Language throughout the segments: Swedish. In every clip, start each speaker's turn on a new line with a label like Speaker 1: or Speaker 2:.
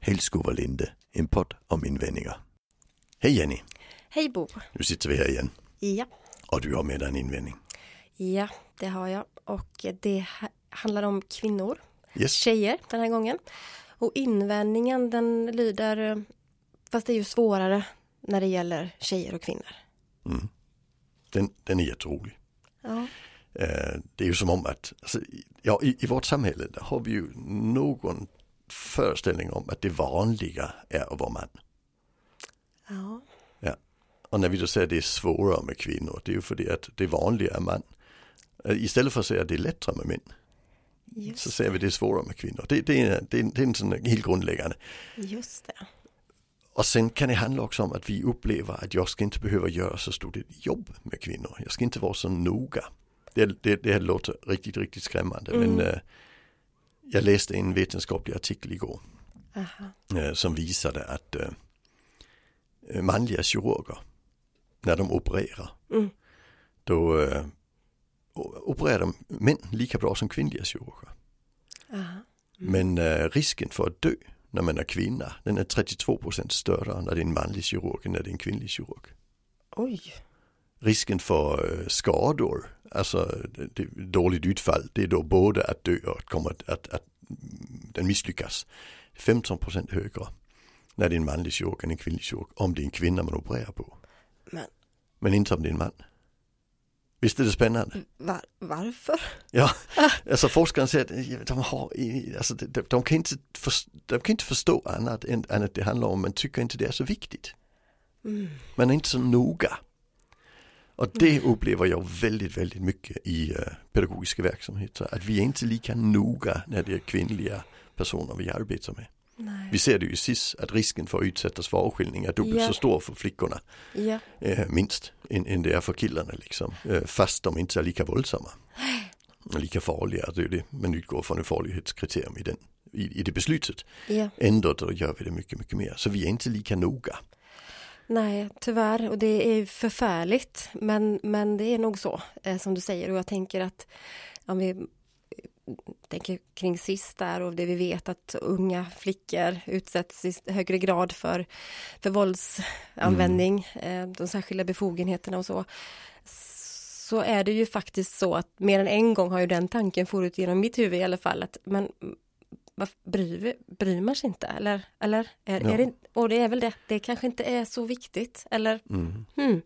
Speaker 1: Hällskovalinde, en podd om invändningar. Hej Jenny,
Speaker 2: Hej Bo.
Speaker 1: nu sitter vi här igen
Speaker 2: Ja.
Speaker 1: och du har med dig en invändning.
Speaker 2: ja, det har jag. Och det ha- handlar om kvinnor,
Speaker 1: Yes,
Speaker 2: tjejer den här gången. Och invändningen den lyder, eh, fast det är ju svårare när det gäller tjejer och kvinnor.
Speaker 1: den, den är jätterolig.
Speaker 2: Ja,
Speaker 1: Eh, Det är ju som om att, alltså, i- ja, i, i vårt samhälle där har vi ju någon föreställning om att det vanliga är att vara man.
Speaker 2: ja,
Speaker 1: Ja. Och när vi då säger att det är svårare med kvinnor, det är ju för det att det vanliga är man. Eh, Istället för att säga att det är lättare med män,
Speaker 2: just,
Speaker 1: så säger vi att det är svårare med kvinnor. Det, det, är, det, är, det är en sån helt grundläggande.
Speaker 2: just det.
Speaker 1: Och sen kan det handla också om att vi upplever att jag ska inte behöva göra så stort ett jobb med kvinnor. Jag ska inte vara så noga. Det, det, det här låter riktigt, riktigt skrämmande.
Speaker 2: Mm.
Speaker 1: Men eh, jag läste en vetenskaplig artikel igår
Speaker 2: Aha.
Speaker 1: eh, som visade att eh, manliga kirurger, när de opererar,
Speaker 2: Mm.
Speaker 1: då eh, o- opererar de män lika bra som kvinnliga kirurger.
Speaker 2: Aha. Mm.
Speaker 1: Men eh, risken för att dö när man är kvinna, den är 32% större när det är en manlig kirurg än när det är en kvinnlig kirurg.
Speaker 2: Oj,
Speaker 1: Risken för eh, skador, alltså det, det, dåligt utfall, det är då både att dö och att, komma, att, att, att mm, den misslyckas. 15% högre när det är en manlig kirurg än en kvinnlig kirurg, om det är en kvinna man opererar på.
Speaker 2: men
Speaker 1: Men inte om det är en man. Visst är det spännande?
Speaker 2: var, varför?
Speaker 1: Ja, alltså forskarna säger att eh, de, har, i- alltså de, de, de, kan inte för, de kan inte förstå annat än, än att det handlar om, man tycker inte det är så viktigt. Man är inte så noga. Och det upplever jag väldigt, väldigt mycket i eh, pedagogiska verksamheter, att vi är inte lika noga när det är kvinnliga personer vi arbetar med.
Speaker 2: Nej.
Speaker 1: Vi ser det ju i SIS, att risken för att utsättas för avskiljning är dubbelt
Speaker 2: Ja.
Speaker 1: så stor för flickorna,
Speaker 2: Ja,
Speaker 1: eh, minst, än, än det är för killarna liksom. Eh, fast de inte är lika våldsamma och lika farliga. Det är ju det man utgår från ett farlighetskriterium i, den, i, i det beslutet.
Speaker 2: ja.
Speaker 1: Ändå då gör vi det mycket, mycket mer. Så vi är inte lika noga.
Speaker 2: Nej, tyvärr. Och det är förfärligt. Men, men det är nog så, eh, som du säger. Och jag tänker att om vi eh, typ tänker kring SIS där och det vi vet att unga flickor utsätts i högre grad för, för våldsanvändning, eh, de särskilda befogenheterna och så. Så är det ju faktiskt så att mer än en gång har ju den tanken forut genom mitt huvud i alla fall att men varför bryr, vi- bryr man sig inte? Eller, eller är,
Speaker 1: Ja.
Speaker 2: är det, och det är väl det, det kanske inte är så viktigt. Eller,
Speaker 1: Mm.
Speaker 2: hmm.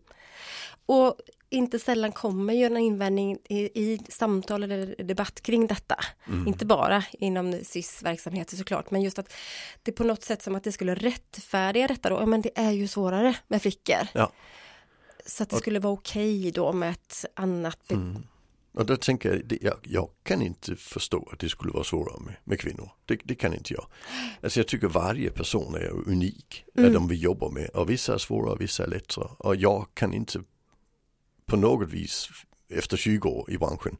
Speaker 2: Och inte sällan kommer ju en invändning i, i samtal eller debatt kring detta.
Speaker 1: Mm.
Speaker 2: Inte bara inom SIS verksamheter såklart, men just att det är på något sätt som att det skulle rättfärdiga detta då. Ja, men det är ju svårare med flickor.
Speaker 1: Ja.
Speaker 2: Så att det skulle vara okej då med ett annat be-
Speaker 1: Mm. Och då tänker jag, det, jag, jag kan inte förstå att det skulle vara svårare med, med kvinnor. Det, det kan inte jag. Alltså jag tycker varje person är unik, är de vi jobbar med. Och vissa är svårare, vissa är lättare. Och jag kan inte på något vis, efter 20 år i branschen,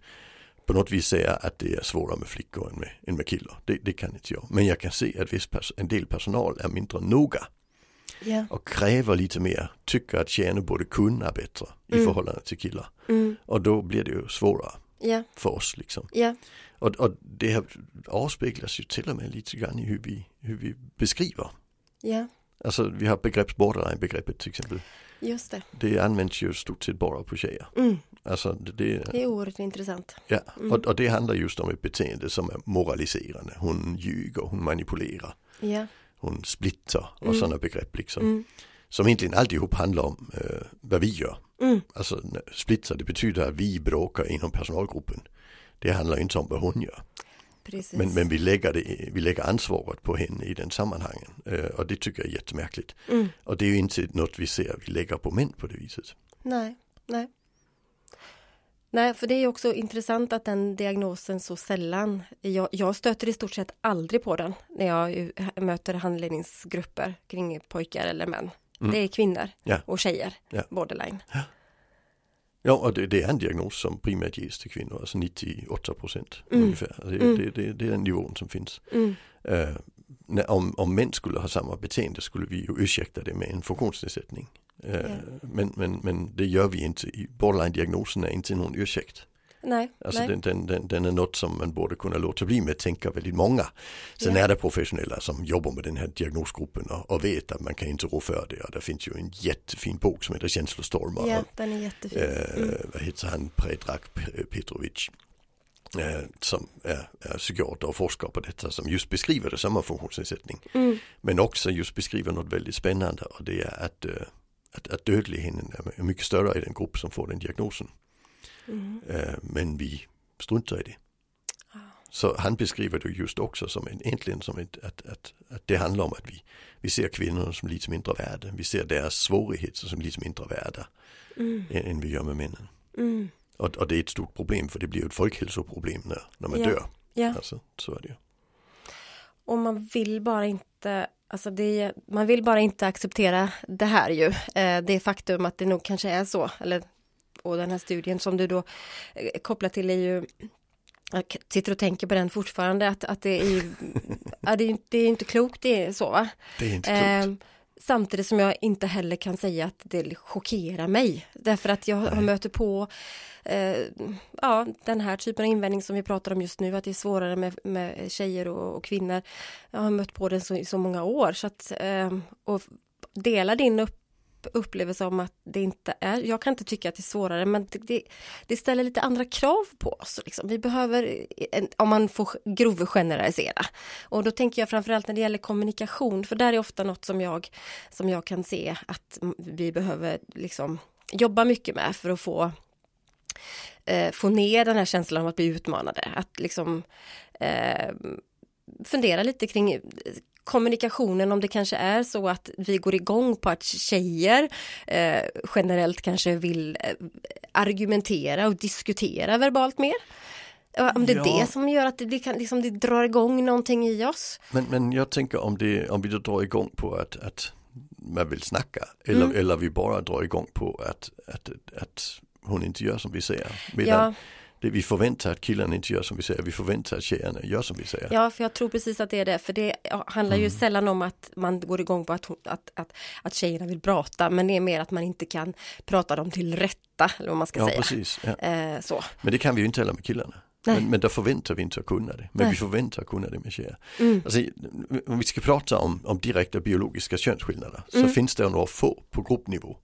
Speaker 1: på något vis säga att det är svårare med flickor än med, än med killar. Det, det kan inte jag. Men jag kan se att viss pers- en del personal är mindre noga
Speaker 2: Ja.
Speaker 1: och kräver lite mer, tycker att tjejerna borde kunna bättre i förhållande till killar.
Speaker 2: Mm.
Speaker 1: Och då blir det ju svårare
Speaker 2: Ja.
Speaker 1: för oss liksom.
Speaker 2: Ja.
Speaker 1: Och, och det här avspeglas ju till och med lite grann i hur vi, hur vi beskriver.
Speaker 2: Ja.
Speaker 1: Alltså vi har begrepp borderline-begreppet till exempel.
Speaker 2: Just det.
Speaker 1: Det används ju stort sett bara på tjejer.
Speaker 2: Mm.
Speaker 1: Alltså det, det,
Speaker 2: Det är oerhört intressant.
Speaker 1: ja. och, och det handlar just om ett beteende som är moraliserande. Hon ljuger, hon manipulerar,
Speaker 2: Ja.
Speaker 1: hon splittar och
Speaker 2: Mm.
Speaker 1: sådana begrepp liksom.
Speaker 2: Mm.
Speaker 1: Som egentligen alltihop handlar om eh, vad vi gör.
Speaker 2: Mm.
Speaker 1: Alltså när- splittra det betyder att vi bråkar inom personalgruppen. Det handlar ju inte om vad hon gör.
Speaker 2: Precis.
Speaker 1: Men, men vi, lägger det, vi lägger ansvaret på henne i den sammanhangen. Eh, och det tycker jag är jättemärkligt.
Speaker 2: Mm.
Speaker 1: Och det är ju inte något vi ser vi lägger på män på det viset.
Speaker 2: Nej, nej. Nej, för det är också intressant att den diagnosen så sällan. Jag, jag stöter i stort sett aldrig på den när jag ju möter handledningsgrupper kring pojkar eller män. Det är kvinnor
Speaker 1: Mm. Ja.
Speaker 2: och tjejer,
Speaker 1: Ja.
Speaker 2: borderline.
Speaker 1: Ja, och det, det är en diagnos som primärt ges till kvinnor, alltså 98 procent ungefär. Det, det, det, det är den nivån som finns.
Speaker 2: Mm.
Speaker 1: Eh, när, om, om män skulle ha samma beteende skulle vi ju ursäkta det med en funktionsnedsättning. Eh,
Speaker 2: Ja.
Speaker 1: men, men, men det gör vi inte. I- Borderline-diagnosen är inte någon ursäkt.
Speaker 2: Nej,
Speaker 1: Alltså
Speaker 2: nej.
Speaker 1: den, den, den, den är något som man borde kunna låta bli med, tänker väldigt många. Sen
Speaker 2: Ja.
Speaker 1: är det professionella som jobbar med den här diagnosgruppen och, och vet att man kan inte rå för det. Och det finns ju en jättefin bok som heter Känslostormar.
Speaker 2: ja,
Speaker 1: Och,
Speaker 2: den är jättefin.
Speaker 1: eh,
Speaker 2: Mm.
Speaker 1: Vad heter han? Predrag Pe- Petrovic. Eh, som är, är psykiater och forskare på detta som just beskriver det som en funktionsnedsättning.
Speaker 2: Mm.
Speaker 1: Men också just beskriver något väldigt spännande och det är att, eh, att, att dödligheten är mycket större i den grupp som får den diagnosen.
Speaker 2: Mm. Ah.
Speaker 1: Eh, Men vi struntar i det.
Speaker 2: Ja.
Speaker 1: Så han beskriver det just också som en, egentligen som ett, att, att, att det handlar om att vi, vi ser kvinnorna som lite mindre värda. Vi ser deras svårigheter som lite mindre värda
Speaker 2: Mm.
Speaker 1: än, än vi gör med männen.
Speaker 2: Mm.
Speaker 1: Och, och det är ett stort problem för det blir ju ett folkhälsoproblem när, när man
Speaker 2: Ja.
Speaker 1: dör.
Speaker 2: Ja,
Speaker 1: Alltså, så är det ju.
Speaker 2: och man vill bara inte, alltså det, är- man vill bara inte acceptera det här ju. Eh, det faktum att det nog kanske är så, eller och den här studien som du då eh, kopplar till är ju jag k- sitter och tänker på den fortfarande att, att det är ju, ja, det är ju det är ju inte klokt det är så va?
Speaker 1: Det är inte klokt.
Speaker 2: Ehm, samtidigt som jag inte heller kan säga att det chockerar mig. Därför att jag
Speaker 1: Nej.
Speaker 2: möter på eh, ja, den här typen av invändning som vi pratar om just nu, att det är svårare med, med tjejer och, och kvinnor. Jag har mött på den så, i så många år. Så att, ehm, och dela din upp, upplevelse om att det inte är, jag kan inte tycka att det är svårare, men det, det, det ställer lite andra krav på oss. Liksom. Vi behöver, en, om man får grovgeneralisera, och då tänker jag framförallt när det gäller kommunikation, för där är ofta något som jag, som jag kan se att m- vi behöver liksom jobba mycket med för att få eh, få ner den här känslan av att bli utmanade, att liksom eh, fundera lite kring eh, kommunikationen om det kanske är så att vi går igång på att tjejer eh, generellt kanske vill eh, argumentera och diskutera verbalt mer. Om det är
Speaker 1: Ja.
Speaker 2: det som gör att det, blir- kan, liksom, det drar igång någonting i oss.
Speaker 1: Men, men jag tänker om, det, om vi då drar igång på att, att man vill snacka eller,
Speaker 2: Mm.
Speaker 1: eller vi bara drar igång på att, att, att hon inte gör som vi säger. Medan
Speaker 2: Ja,
Speaker 1: det vi förväntar att killarna inte gör som vi säger, vi förväntar att tjejerna gör som vi säger.
Speaker 2: ja, för jag tror precis att det är det, för det ja, handlar
Speaker 1: Mm.
Speaker 2: ju sällan om att man går igång på att, hon- att, att, att tjejerna vill prata, men det är mer att man inte kan prata dem till rätta, eller vad man ska
Speaker 1: Ja,
Speaker 2: säga.
Speaker 1: precis. Ja.
Speaker 2: Eh, så.
Speaker 1: Men det kan vi ju inte heller med killarna.
Speaker 2: Nej.
Speaker 1: Men, men där förväntar vi inte att kunna det. Men
Speaker 2: Nej.
Speaker 1: vi förväntar att kunna det med tjejer.
Speaker 2: Mm.
Speaker 1: Alltså, om vi ska prata om, om direkta biologiska könsskillnader så
Speaker 2: Mm.
Speaker 1: finns det några få på gruppnivå.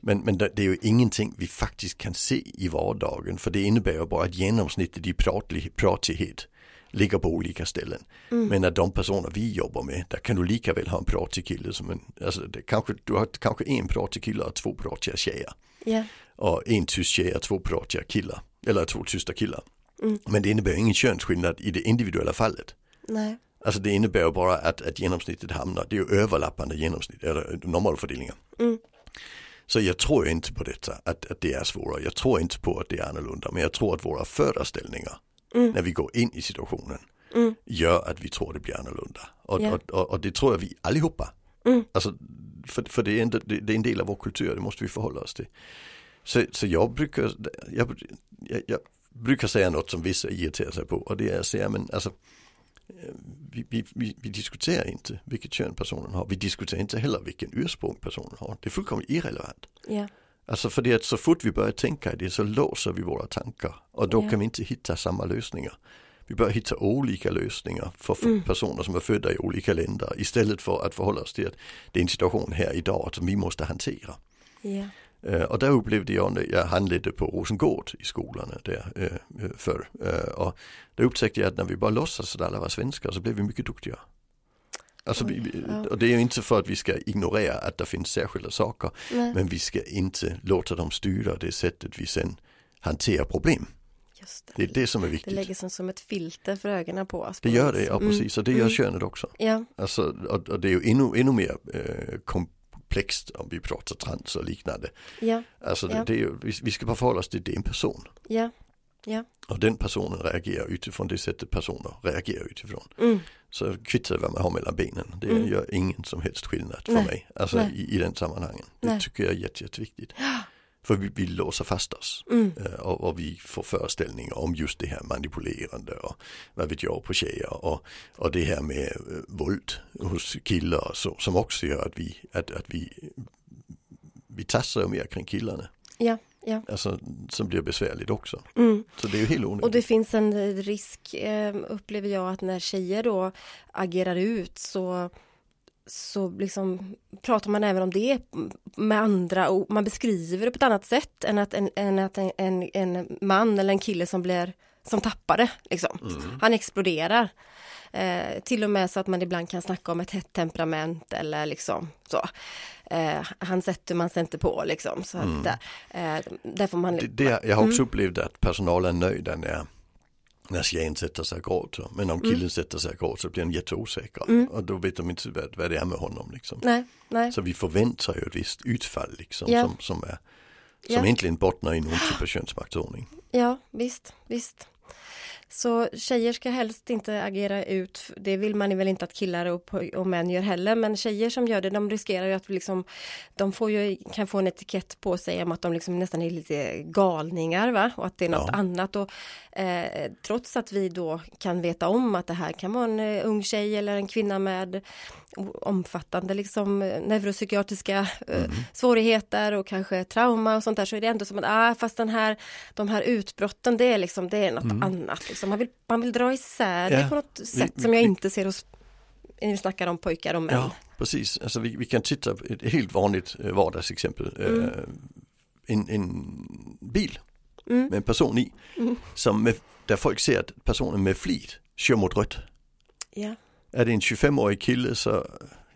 Speaker 1: Men, men det det är ju ingenting vi faktiskt kan se i vardagen för det innebär ju bara att genomsnittet i pratlig, pratighet ligger på olika ställen.
Speaker 2: Mm.
Speaker 1: Men att de personer vi jobbar med, där kan du lika väl ha en pratig kille som en, alltså det, kanske, du har kanske en pratig kille och två pratiga tjejer
Speaker 2: Ja.
Speaker 1: och en tysk tjej och två pratiga killar. Eller två tysta killar. Men det innebär ingen könsskillnad i det individuella fallet.
Speaker 2: Nej.
Speaker 1: Alltså det innebär ju bara att, att genomsnittet hamnar, det är ju överlappande genomsnitt, eller normalfördelningar.
Speaker 2: Mm.
Speaker 1: Så jag tror inte på detta, att, att det är svårare. Jag tror inte på att det är annorlunda. Men jag tror att våra föreställningar,
Speaker 2: Mm.
Speaker 1: när vi går in i situationen,
Speaker 2: Mm.
Speaker 1: gör att vi tror det blir annorlunda. Och,
Speaker 2: Ja.
Speaker 1: och, och, och det tror jag vi allihopa.
Speaker 2: Mm.
Speaker 1: Alltså, för för det, är en, det, det är en del av vår kultur, det måste vi förhålla oss till. Så, så jag, brukar, jag, jag, jag brukar säga något som vissa irriterar sig på och det är att säga, men alltså eh, vi, vi, vi, vi diskuterar inte vilket kön personen har. Vi diskuterar inte heller vilken ursprung personen har. Det är fullkomligt irrelevant.
Speaker 2: Ja.
Speaker 1: Alltså för det att så fort vi börjar tänka i det så låser vi våra tankar och då
Speaker 2: Ja.
Speaker 1: kan vi inte hitta samma lösningar. Vi börjar hitta olika lösningar för f-
Speaker 2: Mm.
Speaker 1: personer som är födda i olika länder istället för att förhålla oss till att det är en situation här idag som vi måste hantera.
Speaker 2: Ja.
Speaker 1: Eh, Och där upplevde jag när jag handledde på Rosengård i skolorna där eh, eh, förr. Eh, Och där upptäckte jag att när vi bara låtsades att alla var svenskar så blev vi mycket duktigare. Alltså, vi, vi-
Speaker 2: Mm, ja.
Speaker 1: och det är ju inte för att vi ska ignorera att det finns särskilda saker
Speaker 2: Nej.
Speaker 1: men vi ska inte låta dem styra det sättet vi sen hanterar problem.
Speaker 2: Just det.
Speaker 1: Det är det som är
Speaker 2: Det
Speaker 1: viktigt.
Speaker 2: lägger sig som ett filter för ögonen på oss. på
Speaker 1: Det gör
Speaker 2: något
Speaker 1: det,
Speaker 2: vis.
Speaker 1: ja
Speaker 2: Mm.
Speaker 1: precis. Och det gör
Speaker 2: Mm.
Speaker 1: könet också.
Speaker 2: Ja.
Speaker 1: Alltså, och, och det är ju ännu, ännu mer eh, komplext om vi pratar trans och liknande.
Speaker 2: Ja.
Speaker 1: Alltså det,
Speaker 2: Ja.
Speaker 1: det är ju, vi, vi ska bara förhålla oss till det är en person.
Speaker 2: Ja.
Speaker 1: Och den personen reagerar utifrån det sättet personer reagerar utifrån.
Speaker 2: Mm.
Speaker 1: Så kvittar det vad man har mellan benen. Det
Speaker 2: Mm.
Speaker 1: gör ingen som helst skillnad för
Speaker 2: Nej.
Speaker 1: mig. Alltså
Speaker 2: Nej.
Speaker 1: i, i den sammanhangen. Det
Speaker 2: Nej.
Speaker 1: tycker jag är jätte, jätteviktigt. För vi, vi låser fast oss.
Speaker 2: Mm.
Speaker 1: Eh, Och, och vi får föreställningar om just det här manipulerande och vad vet jag på tjejer och, och det här med eh, våld hos killar och så, som också gör att vi, att, att vi, vi tassar ju mer kring killarna.
Speaker 2: Ja. Ja.
Speaker 1: Alltså, som blir besvärligt också.
Speaker 2: Mm.
Speaker 1: Så det är ju helt onödigt.
Speaker 2: Och det finns en risk eh, upplever jag att när tjejer då agerar ut så så liksom pratar man även om det med andra och man beskriver det på ett annat sätt än att en, än att en, en, en man eller en kille som blir som tappade liksom. Han exploderar. Eh, till och med så att man ibland kan snacka om ett hett temperament eller liksom så. Eh, han sätter man sig inte på liksom. Så att där, eh, där får man...
Speaker 1: det, det, jag har också
Speaker 2: Mm.
Speaker 1: upplevt att personalen är nöjda när, när tjejen sätter sig och gråter. Men
Speaker 2: Mm.
Speaker 1: om killen sätter sig och gråter så blir han jätteosäker. Och då vet de inte vad, vad det är med honom. Liksom.
Speaker 2: Nej, nej.
Speaker 1: Så vi förväntar ju ett visst utfall liksom,
Speaker 2: Ja.
Speaker 1: som, som, är, som
Speaker 2: Ja.
Speaker 1: egentligen bottnar i någon typ av könsmaktsordning.
Speaker 2: Ja, visst, visst. Så tjejer ska helst inte agera ut, det vill man väl inte att killar och, poj- och män gör heller, men tjejer som gör det, de riskerar ju att liksom, de får ju, kan få en etikett på sig om att de liksom nästan är lite galningar, va? Och att det är något
Speaker 1: Ja.
Speaker 2: annat. Och, eh, trots att vi då kan veta om att det här kan vara en eh, ung tjej eller en kvinna med o- omfattande liksom eh, neuropsykiatriska eh,
Speaker 1: Mm.
Speaker 2: svårigheter och kanske trauma och sånt där så är det ändå som att ah, fast den här, de här utbrotten det är liksom det är något annat. Liksom. Man, vill, man vill dra isär det
Speaker 1: Mm. Ja,
Speaker 2: på något sätt
Speaker 1: vi-
Speaker 2: som jag
Speaker 1: vi-
Speaker 2: inte ser hos när vi snackar om pojkar och män.
Speaker 1: Ja, precis. Alltså, vi, vi kan titta på ett helt vanligt eh, vardagsexempel. Eh,
Speaker 2: Mm.
Speaker 1: en, en bil med en person i.
Speaker 2: Mm.
Speaker 1: Som med, där folk ser att personen med flit kör mot rött.
Speaker 2: Ja,
Speaker 1: Är det en 25-årig kille så,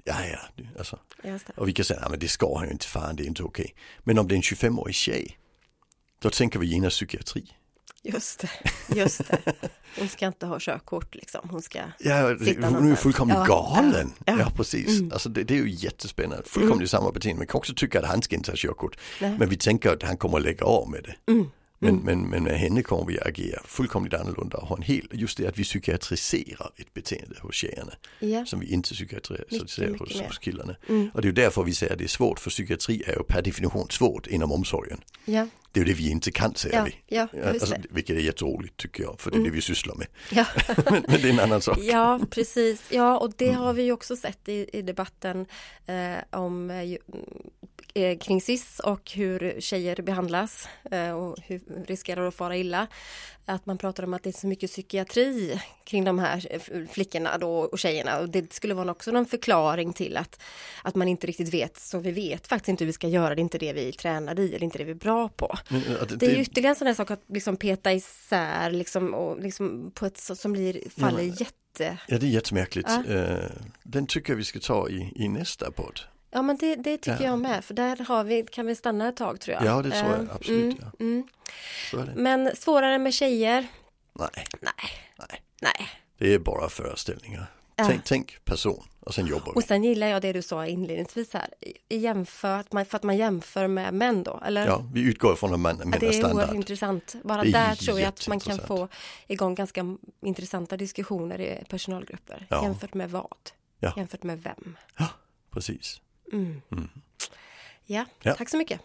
Speaker 1: ja ja, det- alltså.
Speaker 2: just det.
Speaker 1: Och vi kan säga, nej men det ska han ju inte, fan det är inte okej. Men om det är en 25-årig tjej, då tänker vi genast psykiatri.
Speaker 2: Just det. Just det. Hon ska inte ha körkort liksom. Hon ska...
Speaker 1: Ja, det-
Speaker 2: Sitta
Speaker 1: hon är ju
Speaker 2: någonstans.
Speaker 1: fullkomligt
Speaker 2: Ja,
Speaker 1: galen. Ja, Mm.
Speaker 2: ja, ja.
Speaker 1: precis. Alltså det, det är ju jättespännande. Fullkomligt samma beteende. Man kan också tycka att han ska inte ha körkort.
Speaker 2: Nej.
Speaker 1: Men vi tänker att han kommer att lägga av med det. Men, men, men med henne kommer vi att agera fullkomligt annorlunda och ha en hel, just det att vi psykiatriserar ett beteende hos tjejerna.
Speaker 2: Ja.
Speaker 1: som vi inte psykiatriserar
Speaker 2: Mycket,
Speaker 1: hos,
Speaker 2: mycket
Speaker 1: hos killarna.
Speaker 2: Mm.
Speaker 1: Och det är ju därför vi säger att det är svårt, för psykiatri är ju per definition svårt inom omsorgen.
Speaker 2: Ja.
Speaker 1: Det är ju det vi inte kan säger
Speaker 2: Ja,
Speaker 1: vi.
Speaker 2: ja, just
Speaker 1: alltså,
Speaker 2: det.
Speaker 1: vilket är jätteroligt tycker jag, för det är det vi sysslar med.
Speaker 2: ja.
Speaker 1: men, men det är en annan sak.
Speaker 2: Ja, precis. Ja, och det har vi ju också sett i, i debatten eh, om eh, ju- eh, kring SIS och hur tjejer behandlas eh, och hur riskerar att fara illa. Att man pratar om att det är så mycket psykiatri kring de här eh, f- flickorna då och tjejerna och det skulle vara också någon förklaring till att, att man inte riktigt vet, så vi vet faktiskt inte hur vi ska göra, det är inte det vi tränar i eller inte det vi är bra på.
Speaker 1: Men, äh, det-
Speaker 2: Det är ju
Speaker 1: det-
Speaker 2: ytterligare en sån där sak att liksom peta isär liksom, och liksom på ett så- som blir, faller
Speaker 1: men-
Speaker 2: jätte...
Speaker 1: Ja det är jättemärkligt.
Speaker 2: Ja.
Speaker 1: Eh, Den tycker jag vi ska ta i, i nästa podd.
Speaker 2: Ja men det, det tycker
Speaker 1: Ja.
Speaker 2: jag med, för där har vi, kan vi stanna ett tag tror jag.
Speaker 1: Ja, det tror jag,
Speaker 2: Eh,
Speaker 1: absolut,
Speaker 2: Mm,
Speaker 1: ja.
Speaker 2: mm.
Speaker 1: Så är det.
Speaker 2: Men svårare med tjejer?
Speaker 1: Nej,
Speaker 2: Nej.
Speaker 1: Nej.
Speaker 2: Nej.
Speaker 1: det är bara föreställningar.
Speaker 2: Ja.
Speaker 1: Tänk, tänk person och sen jobbar
Speaker 2: Och
Speaker 1: vi.
Speaker 2: sen gillar jag det du sa inledningsvis här, i- i jämför, att man, för att man jämför med män då, eller?
Speaker 1: Ja, vi utgår från att man
Speaker 2: Ja, det
Speaker 1: använder
Speaker 2: är oerhört
Speaker 1: standard.
Speaker 2: intressant. Bara
Speaker 1: Det är
Speaker 2: där tror jag att man kan få
Speaker 1: jätteintressant.
Speaker 2: igång ganska intressanta diskussioner i personalgrupper.
Speaker 1: Ja.
Speaker 2: Jämfört med vad?
Speaker 1: Ja.
Speaker 2: Jämfört med vem?
Speaker 1: Ja, precis.
Speaker 2: Ja,
Speaker 1: Ja.
Speaker 2: tack så mycket.